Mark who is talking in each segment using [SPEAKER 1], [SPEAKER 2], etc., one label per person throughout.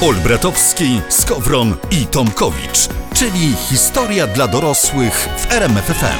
[SPEAKER 1] Olbratowski, Skowron i Tomkowicz, czyli historia dla dorosłych w RMFFM.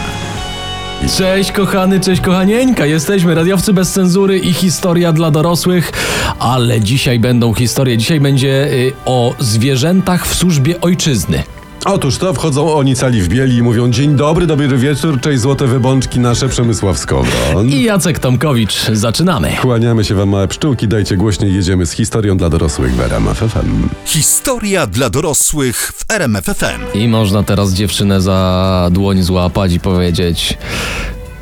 [SPEAKER 2] Cześć kochany, cześć kochanieńka, jesteśmy radiowcy bez cenzury i historia dla dorosłych, ale dzisiaj będą historie, dzisiaj będzie y, o zwierzętach w służbie ojczyzny.
[SPEAKER 3] Otóż to wchodzą oni cali w bieli i mówią dzień dobry, dobry wieczór, cześć złote wybączki nasze Przemysław Skowron.
[SPEAKER 2] I Jacek Tomkowicz, zaczynamy.
[SPEAKER 3] Kłaniamy się wam małe pszczółki, dajcie głośniej, jedziemy z historią dla dorosłych w RMF FM.
[SPEAKER 1] Historia dla dorosłych w RMFFM.
[SPEAKER 2] I można teraz dziewczynę za dłoń złapać i powiedzieć: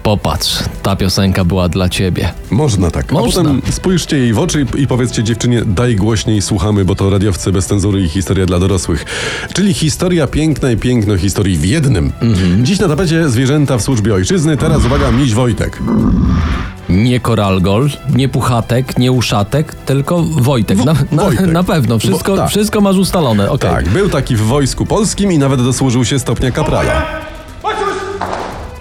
[SPEAKER 2] Popatrz, ta piosenka była dla ciebie.
[SPEAKER 3] Można tak.
[SPEAKER 2] Można.
[SPEAKER 3] A potem spójrzcie jej w oczy i- i powiedzcie dziewczynie, daj głośniej, słuchamy, bo to radiowcy bez cenzury i historia dla dorosłych. Czyli historia piękna i piękno historii w jednym.
[SPEAKER 2] Mhm.
[SPEAKER 3] Dziś na tapecie zwierzęta w służbie ojczyzny, teraz uwaga, miś Wojtek.
[SPEAKER 2] Nie koralgol, nie puchatek, nie uszatek, tylko Wojtek. na, na,
[SPEAKER 3] Wojtek.
[SPEAKER 2] na pewno, wszystko,
[SPEAKER 3] Wo- tak.
[SPEAKER 2] wszystko masz ustalone. Okay.
[SPEAKER 3] Tak, był taki w wojsku polskim i nawet dosłużył się stopnia kaprala.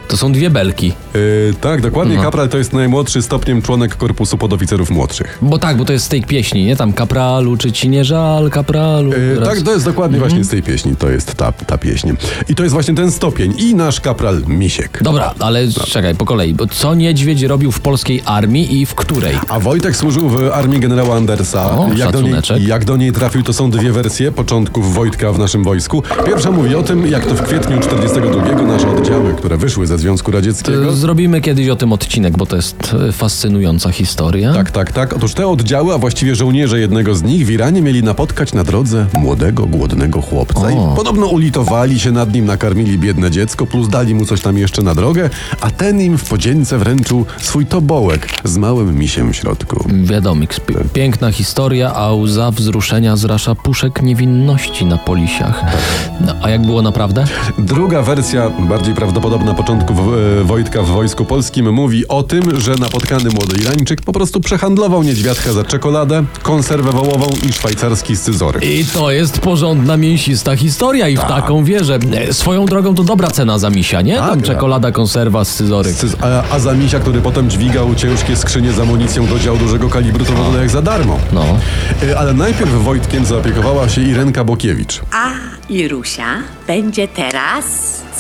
[SPEAKER 2] To są dwie belki.
[SPEAKER 3] Yy, tak, dokładnie.
[SPEAKER 2] No.
[SPEAKER 3] Kapral to jest najmłodszy stopniem członek korpusu podoficerów młodszych.
[SPEAKER 2] Bo tak, bo to jest z tej pieśni, nie? Tam kapralu, czy ci nie żal, kapralu.
[SPEAKER 3] Yy,
[SPEAKER 2] Teraz-
[SPEAKER 3] tak, to jest dokładnie
[SPEAKER 2] Mhm.
[SPEAKER 3] właśnie z tej pieśni. To jest ta, ta pieśń. I to jest właśnie ten stopień. I nasz kapral Misiek.
[SPEAKER 2] Dobra, ale czekaj, po kolei. Bo co niedźwiedź robił w polskiej armii i w której? E,
[SPEAKER 3] A Wojtek służył w armii generała Andersa.
[SPEAKER 2] O,
[SPEAKER 3] jak, do niej,
[SPEAKER 2] szacuneczek.
[SPEAKER 3] jak do niej trafił, to są dwie wersje początków Wojtka w naszym wojsku. Pierwsza mówi o tym, jak to w kwietniu 42 nasze oddziały, które wyszły ze Związku Radzieckiego.
[SPEAKER 2] Zrobimy kiedyś o tym odcinek, bo to jest e, fascynująca historia.
[SPEAKER 3] Tak, tak, tak. Otóż te oddziały, a właściwie żołnierze jednego z nich w Iranie mieli napotkać na drodze młodego, głodnego chłopca.
[SPEAKER 2] O.
[SPEAKER 3] I podobno ulitowali się nad nim, nakarmili biedne dziecko, plus dali mu coś tam jeszcze na drogę, a ten im w podzięce wręczył swój tobołek z małym misiem w środku.
[SPEAKER 2] Wiadomik, pi- piękna historia, a łza wzruszenia zrasza puszek niewinności na polisiach. No, a jak było naprawdę?
[SPEAKER 3] Druga wersja, bardziej prawdopodobna początku w- e, Wojtka w Wojsku Polskim, mówi o tym, że napotkany młody Irańczyk po prostu przehandlował niedźwiadka za czekoladę, konserwę wołową i szwajcarski scyzoryk.
[SPEAKER 2] I to jest porządna, mięsista historia i w
[SPEAKER 3] Tak.
[SPEAKER 2] taką wierzę. E, Swoją drogą to dobra cena za misia, nie? Tam
[SPEAKER 3] Tak.
[SPEAKER 2] czekolada, konserwa, scyzoryk.
[SPEAKER 3] Scyz- A, a za misia, który potem dźwigał ciężkie skrzynie z amunicją do dział dużego kalibru, to wygląda jak za darmo.
[SPEAKER 2] No.
[SPEAKER 3] Y, Ale najpierw Wojtkiem zaopiekowała się Irenka Bokiewicz.
[SPEAKER 4] A Irusia będzie teraz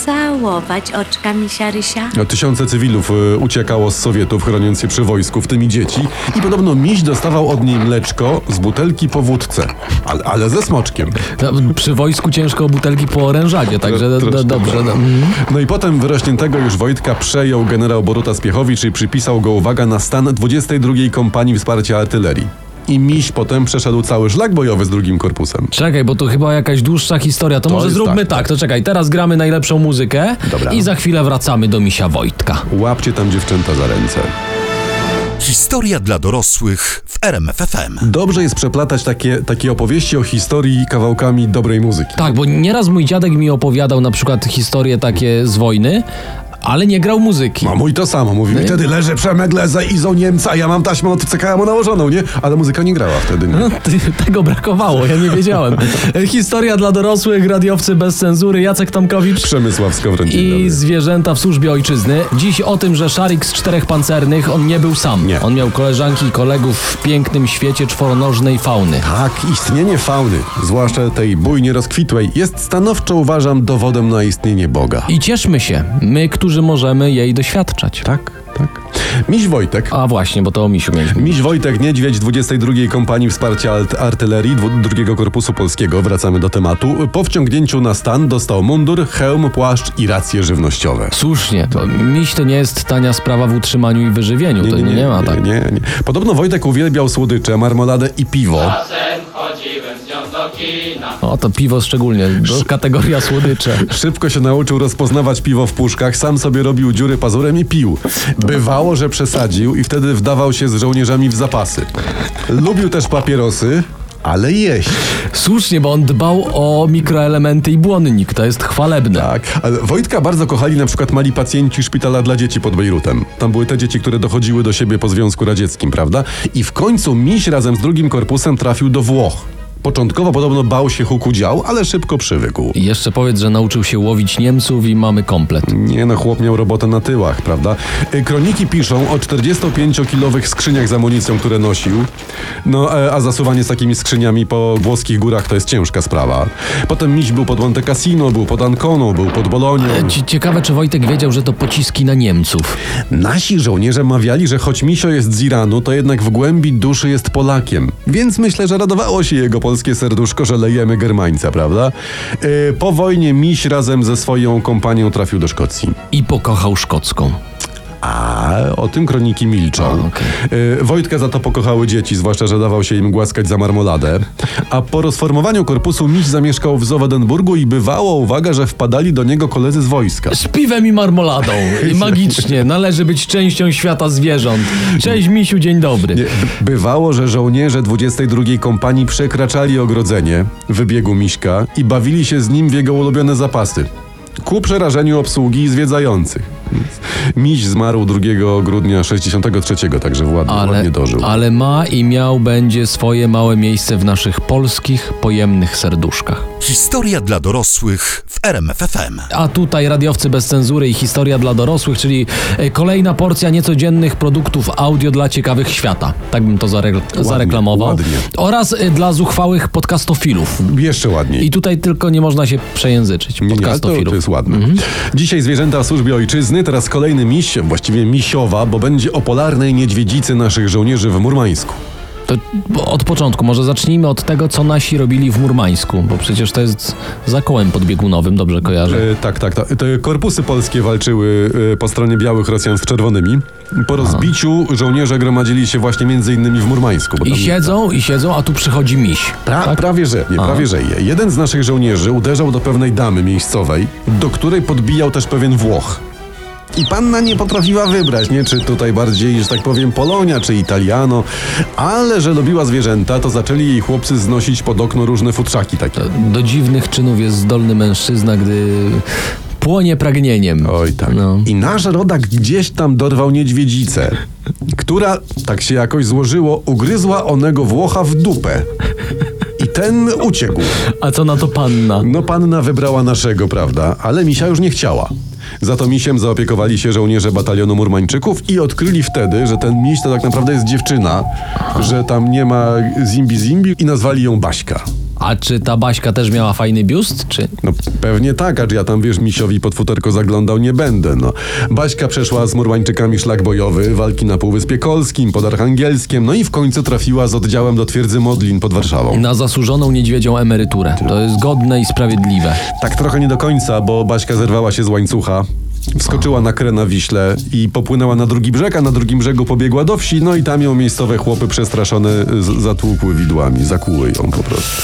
[SPEAKER 4] całować oczka misia Rysia.
[SPEAKER 3] No, Tysiące cywilów y, uciekało z Sowietów, chroniąc się przy wojsku, w tym i dzieci. I podobno miś dostawał od niej mleczko z butelki po wódce. Ale, ale ze smoczkiem.
[SPEAKER 2] No, Przy wojsku ciężko o butelki po orężadzie, także d- d-
[SPEAKER 3] Troszkę.
[SPEAKER 2] dobrze. No.
[SPEAKER 3] No i potem wyrośniętego już Wojtka przejął generał Boruta Spiechowicz i przypisał go, uwaga, na stan 22 Kompanii Wsparcia Artylerii. I miś potem przeszedł cały szlak bojowy z drugim korpusem.
[SPEAKER 2] Czekaj, bo to chyba jakaś dłuższa historia. To, może
[SPEAKER 3] jest
[SPEAKER 2] zróbmy tak,
[SPEAKER 3] tak,
[SPEAKER 2] To czekaj, teraz gramy najlepszą muzykę
[SPEAKER 3] Dobra.
[SPEAKER 2] i za chwilę wracamy do misia Wojtka.
[SPEAKER 3] Łapcie tam dziewczęta za ręce.
[SPEAKER 1] Historia dla dorosłych w RMFFM.
[SPEAKER 3] Dobrze jest przeplatać takie, takie opowieści o historii kawałkami dobrej muzyki.
[SPEAKER 2] Tak, bo nieraz mój dziadek mi opowiadał na przykład historie takie z wojny, ale nie grał muzyki.
[SPEAKER 3] A No mój to samo, mówi mi wtedy leży przemegle za Izą Niemca, ja mam taśmę od CKM nałożoną, nie? Ale muzyka nie grała wtedy, nie?
[SPEAKER 2] No, ty, tego brakowało, ja nie wiedziałem. Historia dla dorosłych, radiowcy bez cenzury, Jacek Tomkowicz.
[SPEAKER 3] Przemysław Skowron, dzień
[SPEAKER 2] I
[SPEAKER 3] dobry.
[SPEAKER 2] zwierzęta w służbie ojczyzny. Dziś o tym, że szarik z czterech pancernych, on nie był sam.
[SPEAKER 3] Nie.
[SPEAKER 2] On miał koleżanki i kolegów w pięknym świecie czworonożnej fauny.
[SPEAKER 3] Tak, istnienie fauny, zwłaszcza tej bujnie rozkwitłej, jest stanowczo uważam dowodem na istnienie Boga.
[SPEAKER 2] I cieszmy się, my, którzy możemy jej doświadczać.
[SPEAKER 3] Tak, tak. Miś Wojtek.
[SPEAKER 2] A właśnie, bo to o misiu mieliśmy.
[SPEAKER 3] Miś Wojtek Niedźwiedź 22 Kompanii Wsparcia Alt- Artylerii dwu- II Korpusu Polskiego, wracamy do tematu, po wciągnięciu na stan dostał mundur, hełm, płaszcz i racje żywnościowe.
[SPEAKER 2] Słusznie, bo miś to nie jest tania sprawa w utrzymaniu i wyżywieniu, to nie, nie, ma tak.
[SPEAKER 3] nie, nie, nie. Podobno Wojtek uwielbiał słodycze, marmoladę i piwo.
[SPEAKER 5] Czasem chodziłem z nią do kina.
[SPEAKER 2] O, to piwo szczególnie, bo kategoria słodycze.
[SPEAKER 3] Szybko się nauczył rozpoznawać piwo w puszkach, sam sobie robił dziury pazurem i pił. Bywało, że przesadził i wtedy wdawał się z żołnierzami w zapasy. Lubił też papierosy, ale jeść.
[SPEAKER 2] Słusznie, bo on dbał o mikroelementy i błonnik, to jest chwalebne.
[SPEAKER 3] Tak, ale Wojtka bardzo kochali na przykład mali pacjenci szpitala dla dzieci pod Bejrutem. Tam były te dzieci, które dochodziły do siebie po Związku Radzieckim, prawda? I w końcu miś razem z drugim korpusem trafił do Włoch. Początkowo podobno bał się huku dział, ale szybko przywykł.
[SPEAKER 2] I jeszcze powiedz, że nauczył się łowić Niemców i mamy komplet.
[SPEAKER 3] Nie no, chłop miał robotę na tyłach, prawda? Y, Kroniki piszą o 45-kilowych skrzyniach z amunicją, które nosił. No, e, a zasuwanie z takimi skrzyniami po włoskich górach to jest ciężka sprawa. Potem miś był pod Monte Cassino, był pod Anconą, był pod Bolonią.
[SPEAKER 2] Ci- Ciekawe, czy Wojtek wiedział, że to pociski na Niemców.
[SPEAKER 3] Nasi żołnierze mawiali, że choć misio jest z Iranu, to jednak w głębi duszy jest Polakiem. Więc myślę, że radowało się jego polskie serduszko, że lejemy Germańca, prawda? Y, po wojnie miś razem ze swoją kompanią trafił do Szkocji.
[SPEAKER 2] I pokochał szkocką.
[SPEAKER 3] A o tym kroniki milczą.
[SPEAKER 2] A, okej.
[SPEAKER 3] Y, Wojtka za to pokochały dzieci, zwłaszcza, że dawał się im głaskać za marmoladę. A po rozformowaniu korpusu miś zamieszkał w Zowedenburgu i bywała uwaga, że wpadali do niego koledzy z wojska.
[SPEAKER 2] Z piwem i marmoladą. I magicznie. Należy być częścią świata zwierząt. Cześć, misiu, dzień dobry.
[SPEAKER 3] Nie, b- bywało, że żołnierze 22 kompanii przekraczali ogrodzenie wybiegu Miśka i bawili się z nim w jego ulubione zapasy. Ku przerażeniu obsługi i zwiedzających. Miś zmarł 2 grudnia 63, także ładnie,
[SPEAKER 2] Ale,
[SPEAKER 3] ładnie dożył.
[SPEAKER 2] ale ma i miał będzie swoje małe miejsce w naszych polskich, pojemnych serduszkach.
[SPEAKER 1] Historia dla dorosłych w RMFFM.
[SPEAKER 2] A tutaj radiowcy bez cenzury i historia dla dorosłych, czyli e, kolejna porcja niecodziennych produktów audio dla ciekawych świata. Tak bym to zarek- zareklamował.
[SPEAKER 3] ładnie.
[SPEAKER 2] Oraz e, dla zuchwałych podcastofilów.
[SPEAKER 3] Jeszcze ładniej.
[SPEAKER 2] I tutaj tylko nie można się przejęzyczyć.
[SPEAKER 3] Nie, nie, ale to,
[SPEAKER 2] Podcastofilów.
[SPEAKER 3] to jest ładne.
[SPEAKER 2] Mhm.
[SPEAKER 3] Dzisiaj zwierzęta w służbie ojczyzny, teraz kolejny miś, właściwie misiowa, bo będzie o polarnej niedźwiedzicy naszych żołnierzy w Murmańsku.
[SPEAKER 2] To bo od początku, może zacznijmy od tego, co nasi robili w Murmańsku, bo przecież to jest za kołem podbiegunowym, dobrze kojarzę.
[SPEAKER 3] E, tak, tak, tak. Te korpusy polskie walczyły e, po stronie białych Rosjan z czerwonymi. Po rozbiciu żołnierze gromadzili się właśnie między innymi w Murmańsku. Bo
[SPEAKER 2] I
[SPEAKER 3] tam-
[SPEAKER 2] siedzą, i siedzą, a tu przychodzi miś. Tak?
[SPEAKER 3] tak. Pra, Prawie że, nie, prawie że. je. Jeden z naszych żołnierzy uderzał do pewnej damy miejscowej, do której podbijał też pewien Włoch. I panna nie potrafiła wybrać, nie? Czy tutaj bardziej, że tak powiem, Polonia, czy Italiano. Ale że lubiła zwierzęta, to zaczęli jej chłopcy znosić pod okno różne futrzaki takie.
[SPEAKER 2] Do dziwnych czynów jest zdolny mężczyzna, gdy płonie pragnieniem.
[SPEAKER 3] Oj tak.
[SPEAKER 2] No.
[SPEAKER 3] I nasz rodak gdzieś tam dorwał niedźwiedzicę, która, tak się jakoś złożyło, ugryzła onego Włocha w dupę. I ten uciekł.
[SPEAKER 2] A co na to panna?
[SPEAKER 3] No panna wybrała naszego, prawda? Ale misia już nie chciała. Za to misiem zaopiekowali się żołnierze batalionu Murmańczyków i odkryli wtedy, że ten miś to tak naprawdę jest dziewczyna, że tam nie ma zimbi-zimbi i nazwali ją Baśka.
[SPEAKER 2] A czy ta Baśka też miała fajny biust, czy?
[SPEAKER 3] No pewnie tak, acz ja tam wiesz, misiowi pod futerko zaglądał nie będę, no. Baśka przeszła z Murmańczykami szlak bojowy, walki na Półwyspie Kolskim, pod Archangelskiem, no i w końcu trafiła z oddziałem do twierdzy Modlin pod Warszawą.
[SPEAKER 2] Na zasłużoną niedźwiedzią emeryturę. To jest godne i sprawiedliwe.
[SPEAKER 3] Tak trochę nie do końca, bo Baśka zerwała się z łańcucha, wskoczyła na krę na Wiśle i popłynęła na drugi brzeg, a na drugim brzegu pobiegła do wsi, no i tam ją miejscowe chłopy przestraszone y, z- zatłukły widłami, zakłuły ją po prostu.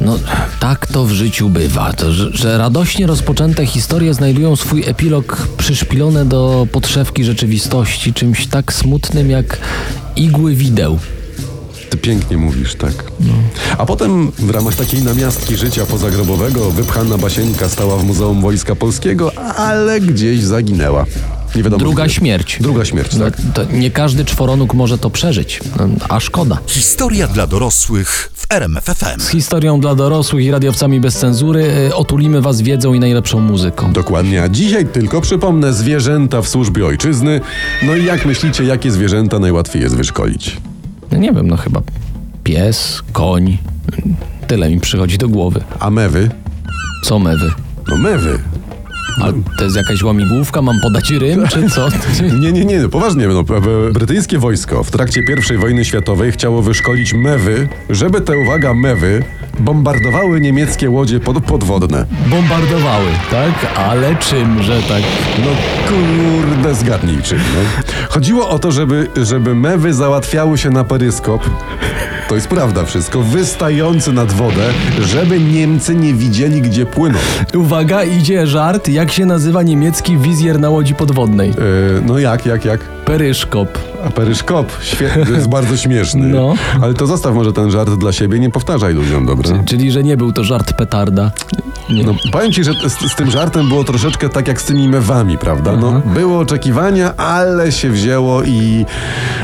[SPEAKER 2] No, tak to w życiu bywa, to, że, że radośnie rozpoczęte historie znajdują swój epilog przyszpilone do podszewki rzeczywistości czymś tak smutnym jak igły wideł.
[SPEAKER 3] Ty pięknie mówisz, tak. A potem w ramach takiej namiastki życia pozagrobowego wypchana Basieńka stała w Muzeum Wojska Polskiego, ale gdzieś zaginęła. Nie wiadomo.
[SPEAKER 2] Druga
[SPEAKER 3] gdzie.
[SPEAKER 2] śmierć.
[SPEAKER 3] Druga śmierć,
[SPEAKER 2] No,
[SPEAKER 3] tak.
[SPEAKER 2] to nie każdy czworonóg może to przeżyć, No, a szkoda.
[SPEAKER 1] Historia dla dorosłych w RMFFM.
[SPEAKER 2] Z historią dla dorosłych i radiowcami bez cenzury y, otulimy was wiedzą i najlepszą muzyką.
[SPEAKER 3] Dokładnie, a dzisiaj tylko przypomnę zwierzęta w służbie ojczyzny. No i jak myślicie, jakie zwierzęta najłatwiej jest wyszkolić?
[SPEAKER 2] No, nie wiem, no chyba pies, koń, tyle mi przychodzi do głowy.
[SPEAKER 3] A mewy?
[SPEAKER 2] Co mewy?
[SPEAKER 3] No mewy.
[SPEAKER 2] A to jest jakaś łamigłówka, mam podać rym, czy co?
[SPEAKER 3] Nie, nie, nie, no poważnie. No, b- b- brytyjskie wojsko w trakcie I wojny światowej chciało wyszkolić mewy, żeby te, uwaga, mewy bombardowały niemieckie łodzie pod, podwodne.
[SPEAKER 2] Bombardowały, tak? Ale czymże tak?
[SPEAKER 3] No kurde, zgadnij czym, no. Chodziło o to, żeby, żeby mewy załatwiały się na peryskop. To jest prawda wszystko, wystający nad wodę, żeby Niemcy nie widzieli, gdzie płyną.
[SPEAKER 2] Uwaga, idzie żart, jak się nazywa niemiecki wizjer na łodzi podwodnej?
[SPEAKER 3] Yy, no jak, jak, jak?
[SPEAKER 2] Peryszkop.
[SPEAKER 3] A peryskop, świetny, to jest bardzo śmieszny.
[SPEAKER 2] No.
[SPEAKER 3] Ale to zostaw może ten żart dla siebie, nie powtarzaj ludziom, dobra?
[SPEAKER 2] Czyli, że nie był to żart petarda.
[SPEAKER 3] No, powiem ci, że z, z tym żartem było troszeczkę tak jak z tymi mewami, prawda? No,
[SPEAKER 2] Mhm.
[SPEAKER 3] było oczekiwania, ale się wzięło i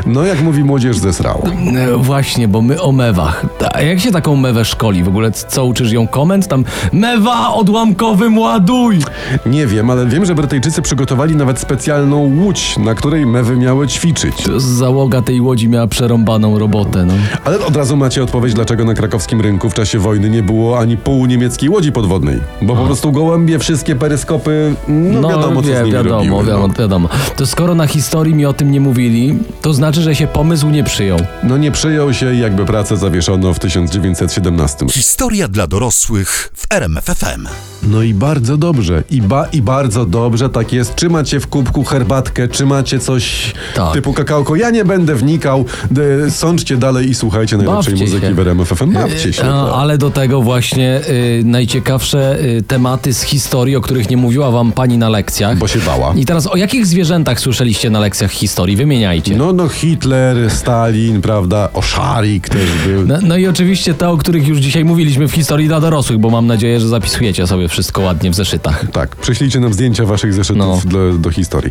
[SPEAKER 3] no jak mówi młodzież zesrało.
[SPEAKER 2] E, Właśnie, bo my o mewach. A jak się taką mewę szkoli? W ogóle c- co uczysz ją komend? Tam mewa odłamkowym ładuj!
[SPEAKER 3] Nie wiem, ale wiem, że Brytyjczycy przygotowali nawet specjalną łódź, na której mewy miały ćwiczyć.
[SPEAKER 2] To Załoga tej łodzi miała przerąbaną robotę, no.
[SPEAKER 3] Ale od razu macie odpowiedź, dlaczego na krakowskim rynku w czasie wojny nie było ani pół niemieckiej łodzi podwodnej. Bo po prostu gołębie, wszystkie peryskopy, no, wiadomo, co
[SPEAKER 2] wie-
[SPEAKER 3] z nimi
[SPEAKER 2] wiadomo,
[SPEAKER 3] robiły, no.
[SPEAKER 2] wiadomo, wiadomo. To skoro na historii mi o tym nie mówili, to znaczy, że się pomysł nie przyjął.
[SPEAKER 3] no nie przyjął się i jakby pracę zawieszono w 1917.
[SPEAKER 1] Historia dla dorosłych w RMFFM.
[SPEAKER 3] No i bardzo dobrze. I, ba, I bardzo dobrze tak jest. Czy macie w kubku herbatkę, czy macie coś
[SPEAKER 2] Tak.
[SPEAKER 3] typu kakałko. Ja nie będę wnikał. D, sądźcie dalej i słuchajcie najlepszej
[SPEAKER 2] Bawcie
[SPEAKER 3] muzyki
[SPEAKER 2] się. E,
[SPEAKER 3] w RMF FM. Bawcie się. tak.
[SPEAKER 2] A, ale do tego właśnie y, najciekawsze y, tematy z historii, o których nie mówiła wam pani na lekcjach.
[SPEAKER 3] Bo się bała.
[SPEAKER 2] I teraz o jakich zwierzętach słyszeliście na lekcjach historii? Wymieniajcie.
[SPEAKER 3] No, no Hitler, Stalin, prawda? Oszarik też był.
[SPEAKER 2] No, no i oczywiście te, o których już dzisiaj mówiliśmy w historii dla dorosłych, bo mam nadzieję, że zapisujecie sobie wszystko ładnie w zeszytach.
[SPEAKER 3] Tak, prześlijcie nam zdjęcia waszych zeszytów
[SPEAKER 2] No.
[SPEAKER 3] do, do historii.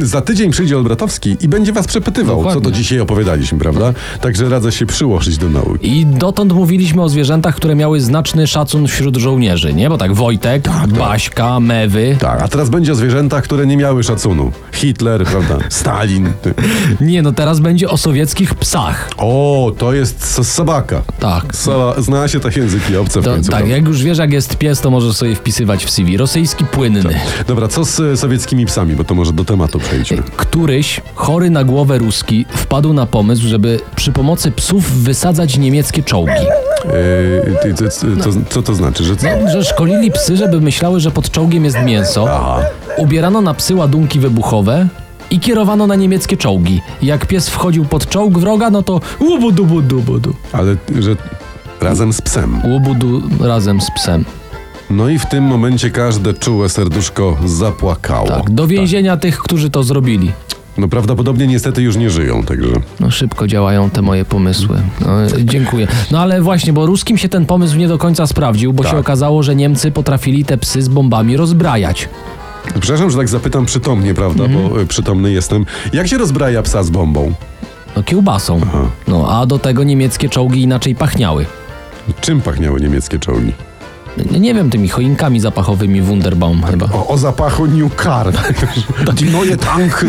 [SPEAKER 3] E, za tydzień przyjdzie Olbratowski i będzie was przepytywał, co
[SPEAKER 2] Dokładnie.
[SPEAKER 3] to dzisiaj opowiadaliśmy, prawda? Także radzę się przyłożyć do nauki.
[SPEAKER 2] I dotąd mówiliśmy o zwierzętach, które miały znaczny szacun wśród żołnierzy, nie? Bo tak Wojtek, Baśka, Mewy.
[SPEAKER 3] Tak, a teraz będzie o zwierzętach, które nie miały szacunu. Hitler, prawda? Stalin.
[SPEAKER 2] Nie, no teraz będzie o sowieckich psach.
[SPEAKER 3] O, to jest so- sobaka.
[SPEAKER 2] Tak.
[SPEAKER 3] Sowa, zna się tak języki obce w
[SPEAKER 2] To,
[SPEAKER 3] końcu.
[SPEAKER 2] tak,
[SPEAKER 3] prawda?
[SPEAKER 2] jak już wiesz, jak jest pies, to możesz sobie wpisywać w CV. Rosyjski płynny.
[SPEAKER 3] Dobra, co z e, sowieckimi psami, bo to może do tematu przejdźmy.
[SPEAKER 2] Któryś chory na głowę ruski wpadł na pomysł, żeby przy pomocy psów wysadzać niemieckie czołgi.
[SPEAKER 3] E, ty- ty- ty- to, co to znaczy? Że co?
[SPEAKER 2] Że szkolili psy, żeby myślały, że pod czołgiem jest mięso. Ubierano na psy ładunki wybuchowe i kierowano na niemieckie czołgi. Jak pies wchodził pod czołg wroga, no to łubudu, budu, budu.
[SPEAKER 3] Ale że razem z psem.
[SPEAKER 2] Łubudu razem z psem.
[SPEAKER 3] No i w tym momencie każde czułe serduszko zapłakało.
[SPEAKER 2] Tak, do więzienia tych, którzy to zrobili.
[SPEAKER 3] No prawdopodobnie niestety już nie żyją, także...
[SPEAKER 2] No szybko działają te moje pomysły. No, e, dziękuję. No ale właśnie, bo ruskim się ten pomysł nie do końca sprawdził, bo
[SPEAKER 3] Tak.
[SPEAKER 2] się okazało, że Niemcy potrafili te psy z bombami rozbrajać.
[SPEAKER 3] Przepraszam, że tak zapytam przytomnie, prawda, bo
[SPEAKER 2] Mhm.
[SPEAKER 3] e, przytomny jestem. Jak się rozbraja psa z bombą?
[SPEAKER 2] No kiełbasą. No a do tego niemieckie czołgi inaczej pachniały.
[SPEAKER 3] Czym pachniały niemieckie czołgi?
[SPEAKER 2] Nie, nie wiem, tymi choinkami zapachowymi Wunderbaum chyba.
[SPEAKER 3] O, o zapachu New Car. Die neue Tank.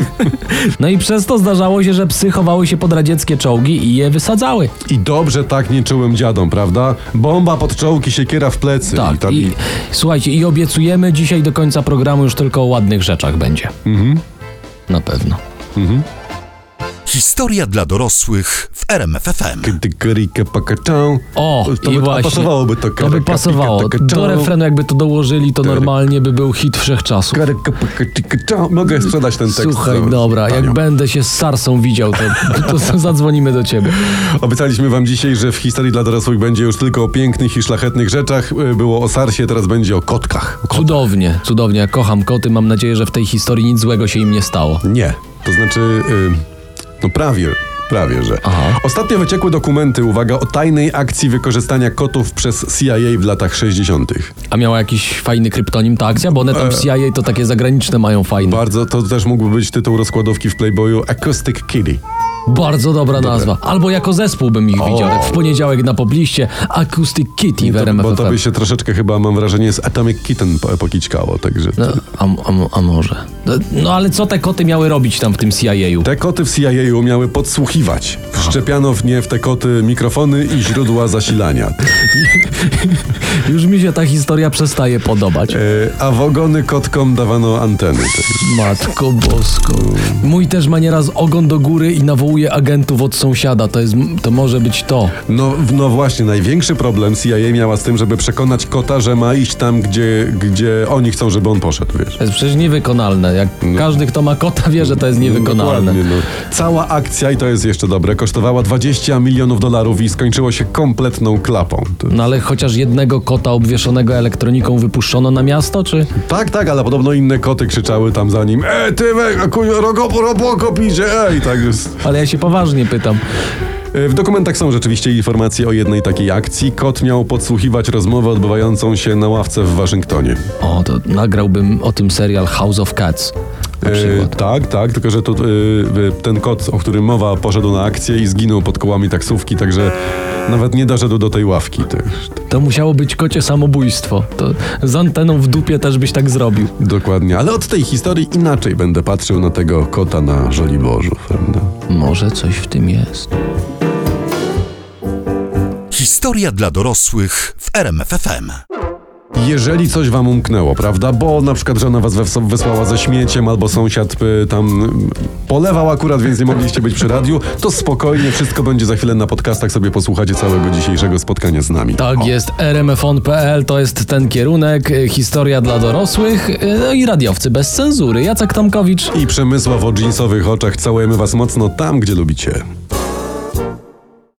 [SPEAKER 2] No i przez to zdarzało się, że psy chowały się pod radzieckie czołgi i je wysadzały.
[SPEAKER 3] I dobrze tak nie czułem dziadom, prawda? Bomba pod czołki, siekiera w plecy. I
[SPEAKER 2] Tak.
[SPEAKER 3] tam,
[SPEAKER 2] I, słuchajcie, i obiecujemy dzisiaj do końca programu już tylko o ładnych rzeczach będzie. Mhm. Na pewno.
[SPEAKER 1] Historia dla dorosłych w RMFFM.
[SPEAKER 3] Kiedy kryjkę pakaczą.
[SPEAKER 2] O,
[SPEAKER 3] to
[SPEAKER 2] i
[SPEAKER 3] by,
[SPEAKER 2] właśnie.
[SPEAKER 3] A pasowałoby to
[SPEAKER 2] To by pasowało. Do refrenu jakby to dołożyli,
[SPEAKER 3] Tak.
[SPEAKER 2] to normalnie by był hit wszechczasów.
[SPEAKER 3] Karyka, pakaczika, Mogę sprzedać ten tekst.
[SPEAKER 2] Słuchaj,
[SPEAKER 3] za-
[SPEAKER 2] dobra,
[SPEAKER 3] tanio.
[SPEAKER 2] jak będę się z Sarsą widział, to, to, to zadzwonimy do ciebie.
[SPEAKER 3] Obiecaliśmy wam dzisiaj, że w historii dla dorosłych będzie już tylko o pięknych i szlachetnych rzeczach. Y, Było o Sarsie, teraz będzie o kotkach. O kot...
[SPEAKER 2] Cudownie, cudownie. Ja kocham koty. Mam nadzieję, że w tej historii nic złego się im nie stało.
[SPEAKER 3] Nie. To znaczy, y, no prawie. Prawie, że.
[SPEAKER 2] Aha.
[SPEAKER 3] Ostatnio wyciekły dokumenty, uwaga, o tajnej akcji wykorzystania kotów przez CIA w latach 60.
[SPEAKER 2] A miała jakiś fajny kryptonim ta akcja? Bo one
[SPEAKER 3] E,
[SPEAKER 2] tam w CIA to takie zagraniczne mają fajne.
[SPEAKER 3] Bardzo, to też mógłby być tytuł rozkładówki w Playboyu Acoustic Kitty.
[SPEAKER 2] Bardzo dobra nazwa. Albo jako zespół bym ich widział. Tak w poniedziałek na pobliście Acoustic Kitty w
[SPEAKER 3] No To, bo
[SPEAKER 2] RMF
[SPEAKER 3] to by
[SPEAKER 2] FM.
[SPEAKER 3] się troszeczkę chyba, mam wrażenie, z Atomic Kitten po- pokićkało, także...
[SPEAKER 2] No, a, a, a może? No ale co te koty miały robić tam w tym CIA-u?
[SPEAKER 3] Te koty w CIA miały podsłuchiwać. Wszczepiano w nie w te koty mikrofony i źródła zasilania.
[SPEAKER 2] Już mi się ta historia przestaje podobać.
[SPEAKER 3] E, a wagony kotkom dawano anteny.
[SPEAKER 2] Matko Bosko. Mój też ma nieraz ogon do góry i nawołuje agentów od sąsiada. To, jest, to może być to.
[SPEAKER 3] No, w- no właśnie, największy problem CIA miała z tym, żeby przekonać kota, że ma iść tam, gdzie, gdzie oni chcą, żeby on poszedł, wiesz.
[SPEAKER 2] To jest przecież niewykonalne. Jak każdy, kto ma kota, wie, że to jest niewykonalne.
[SPEAKER 3] Dokładnie, no. Cała akcja, i to jest jeszcze dobre, kosztowała 20 milionów dolarów i skończyło się kompletną klapą. To...
[SPEAKER 2] No ale chociaż jednego kota obwieszonego elektroniką wypuszczono na miasto, czy?
[SPEAKER 3] Tak, tak, ale podobno inne koty krzyczały tam za nim E, ty, we, kuj, rogo, robokop idzie, ej, tak jest.
[SPEAKER 2] Ale ja się poważnie pytam.
[SPEAKER 3] E, W dokumentach są rzeczywiście informacje o jednej takiej akcji. Kot miał podsłuchiwać rozmowę odbywającą się na ławce w Waszyngtonie. E,
[SPEAKER 2] O, to nagrałbym o tym serial House of Cats. Na
[SPEAKER 3] E,
[SPEAKER 2] przykład.
[SPEAKER 3] tak, tak, tylko że to, e, e, ten kot, o którym mowa, poszedł na akcję i zginął pod kołami taksówki, także nawet nie doszedł do tej ławki. To,
[SPEAKER 2] To musiało być kocie samobójstwo. To z anteną w dupie też byś tak zrobił.
[SPEAKER 3] dokładnie, ale od tej historii inaczej będę patrzył na tego kota na Żoliborzu, prawda?
[SPEAKER 2] Może coś w tym jest.
[SPEAKER 1] Historia dla dorosłych w RMFFM.
[SPEAKER 3] Jeżeli coś wam umknęło, prawda? Bo na przykład żona was wes- wysłała ze śmieciem, albo sąsiad y, tam y, polewał akurat, więc nie mogliście być przy radiu, to spokojnie, wszystko będzie za chwilę na podcastach, sobie posłuchacie całego dzisiejszego spotkania z nami.
[SPEAKER 2] Tak
[SPEAKER 3] O.
[SPEAKER 2] jest, rmfon.pl to jest ten kierunek, y, historia dla dorosłych y, no i radiowcy bez cenzury. Jacek Tomkowicz.
[SPEAKER 3] I Przemysław o dżinsowych oczach całujemy was mocno tam, gdzie lubicie.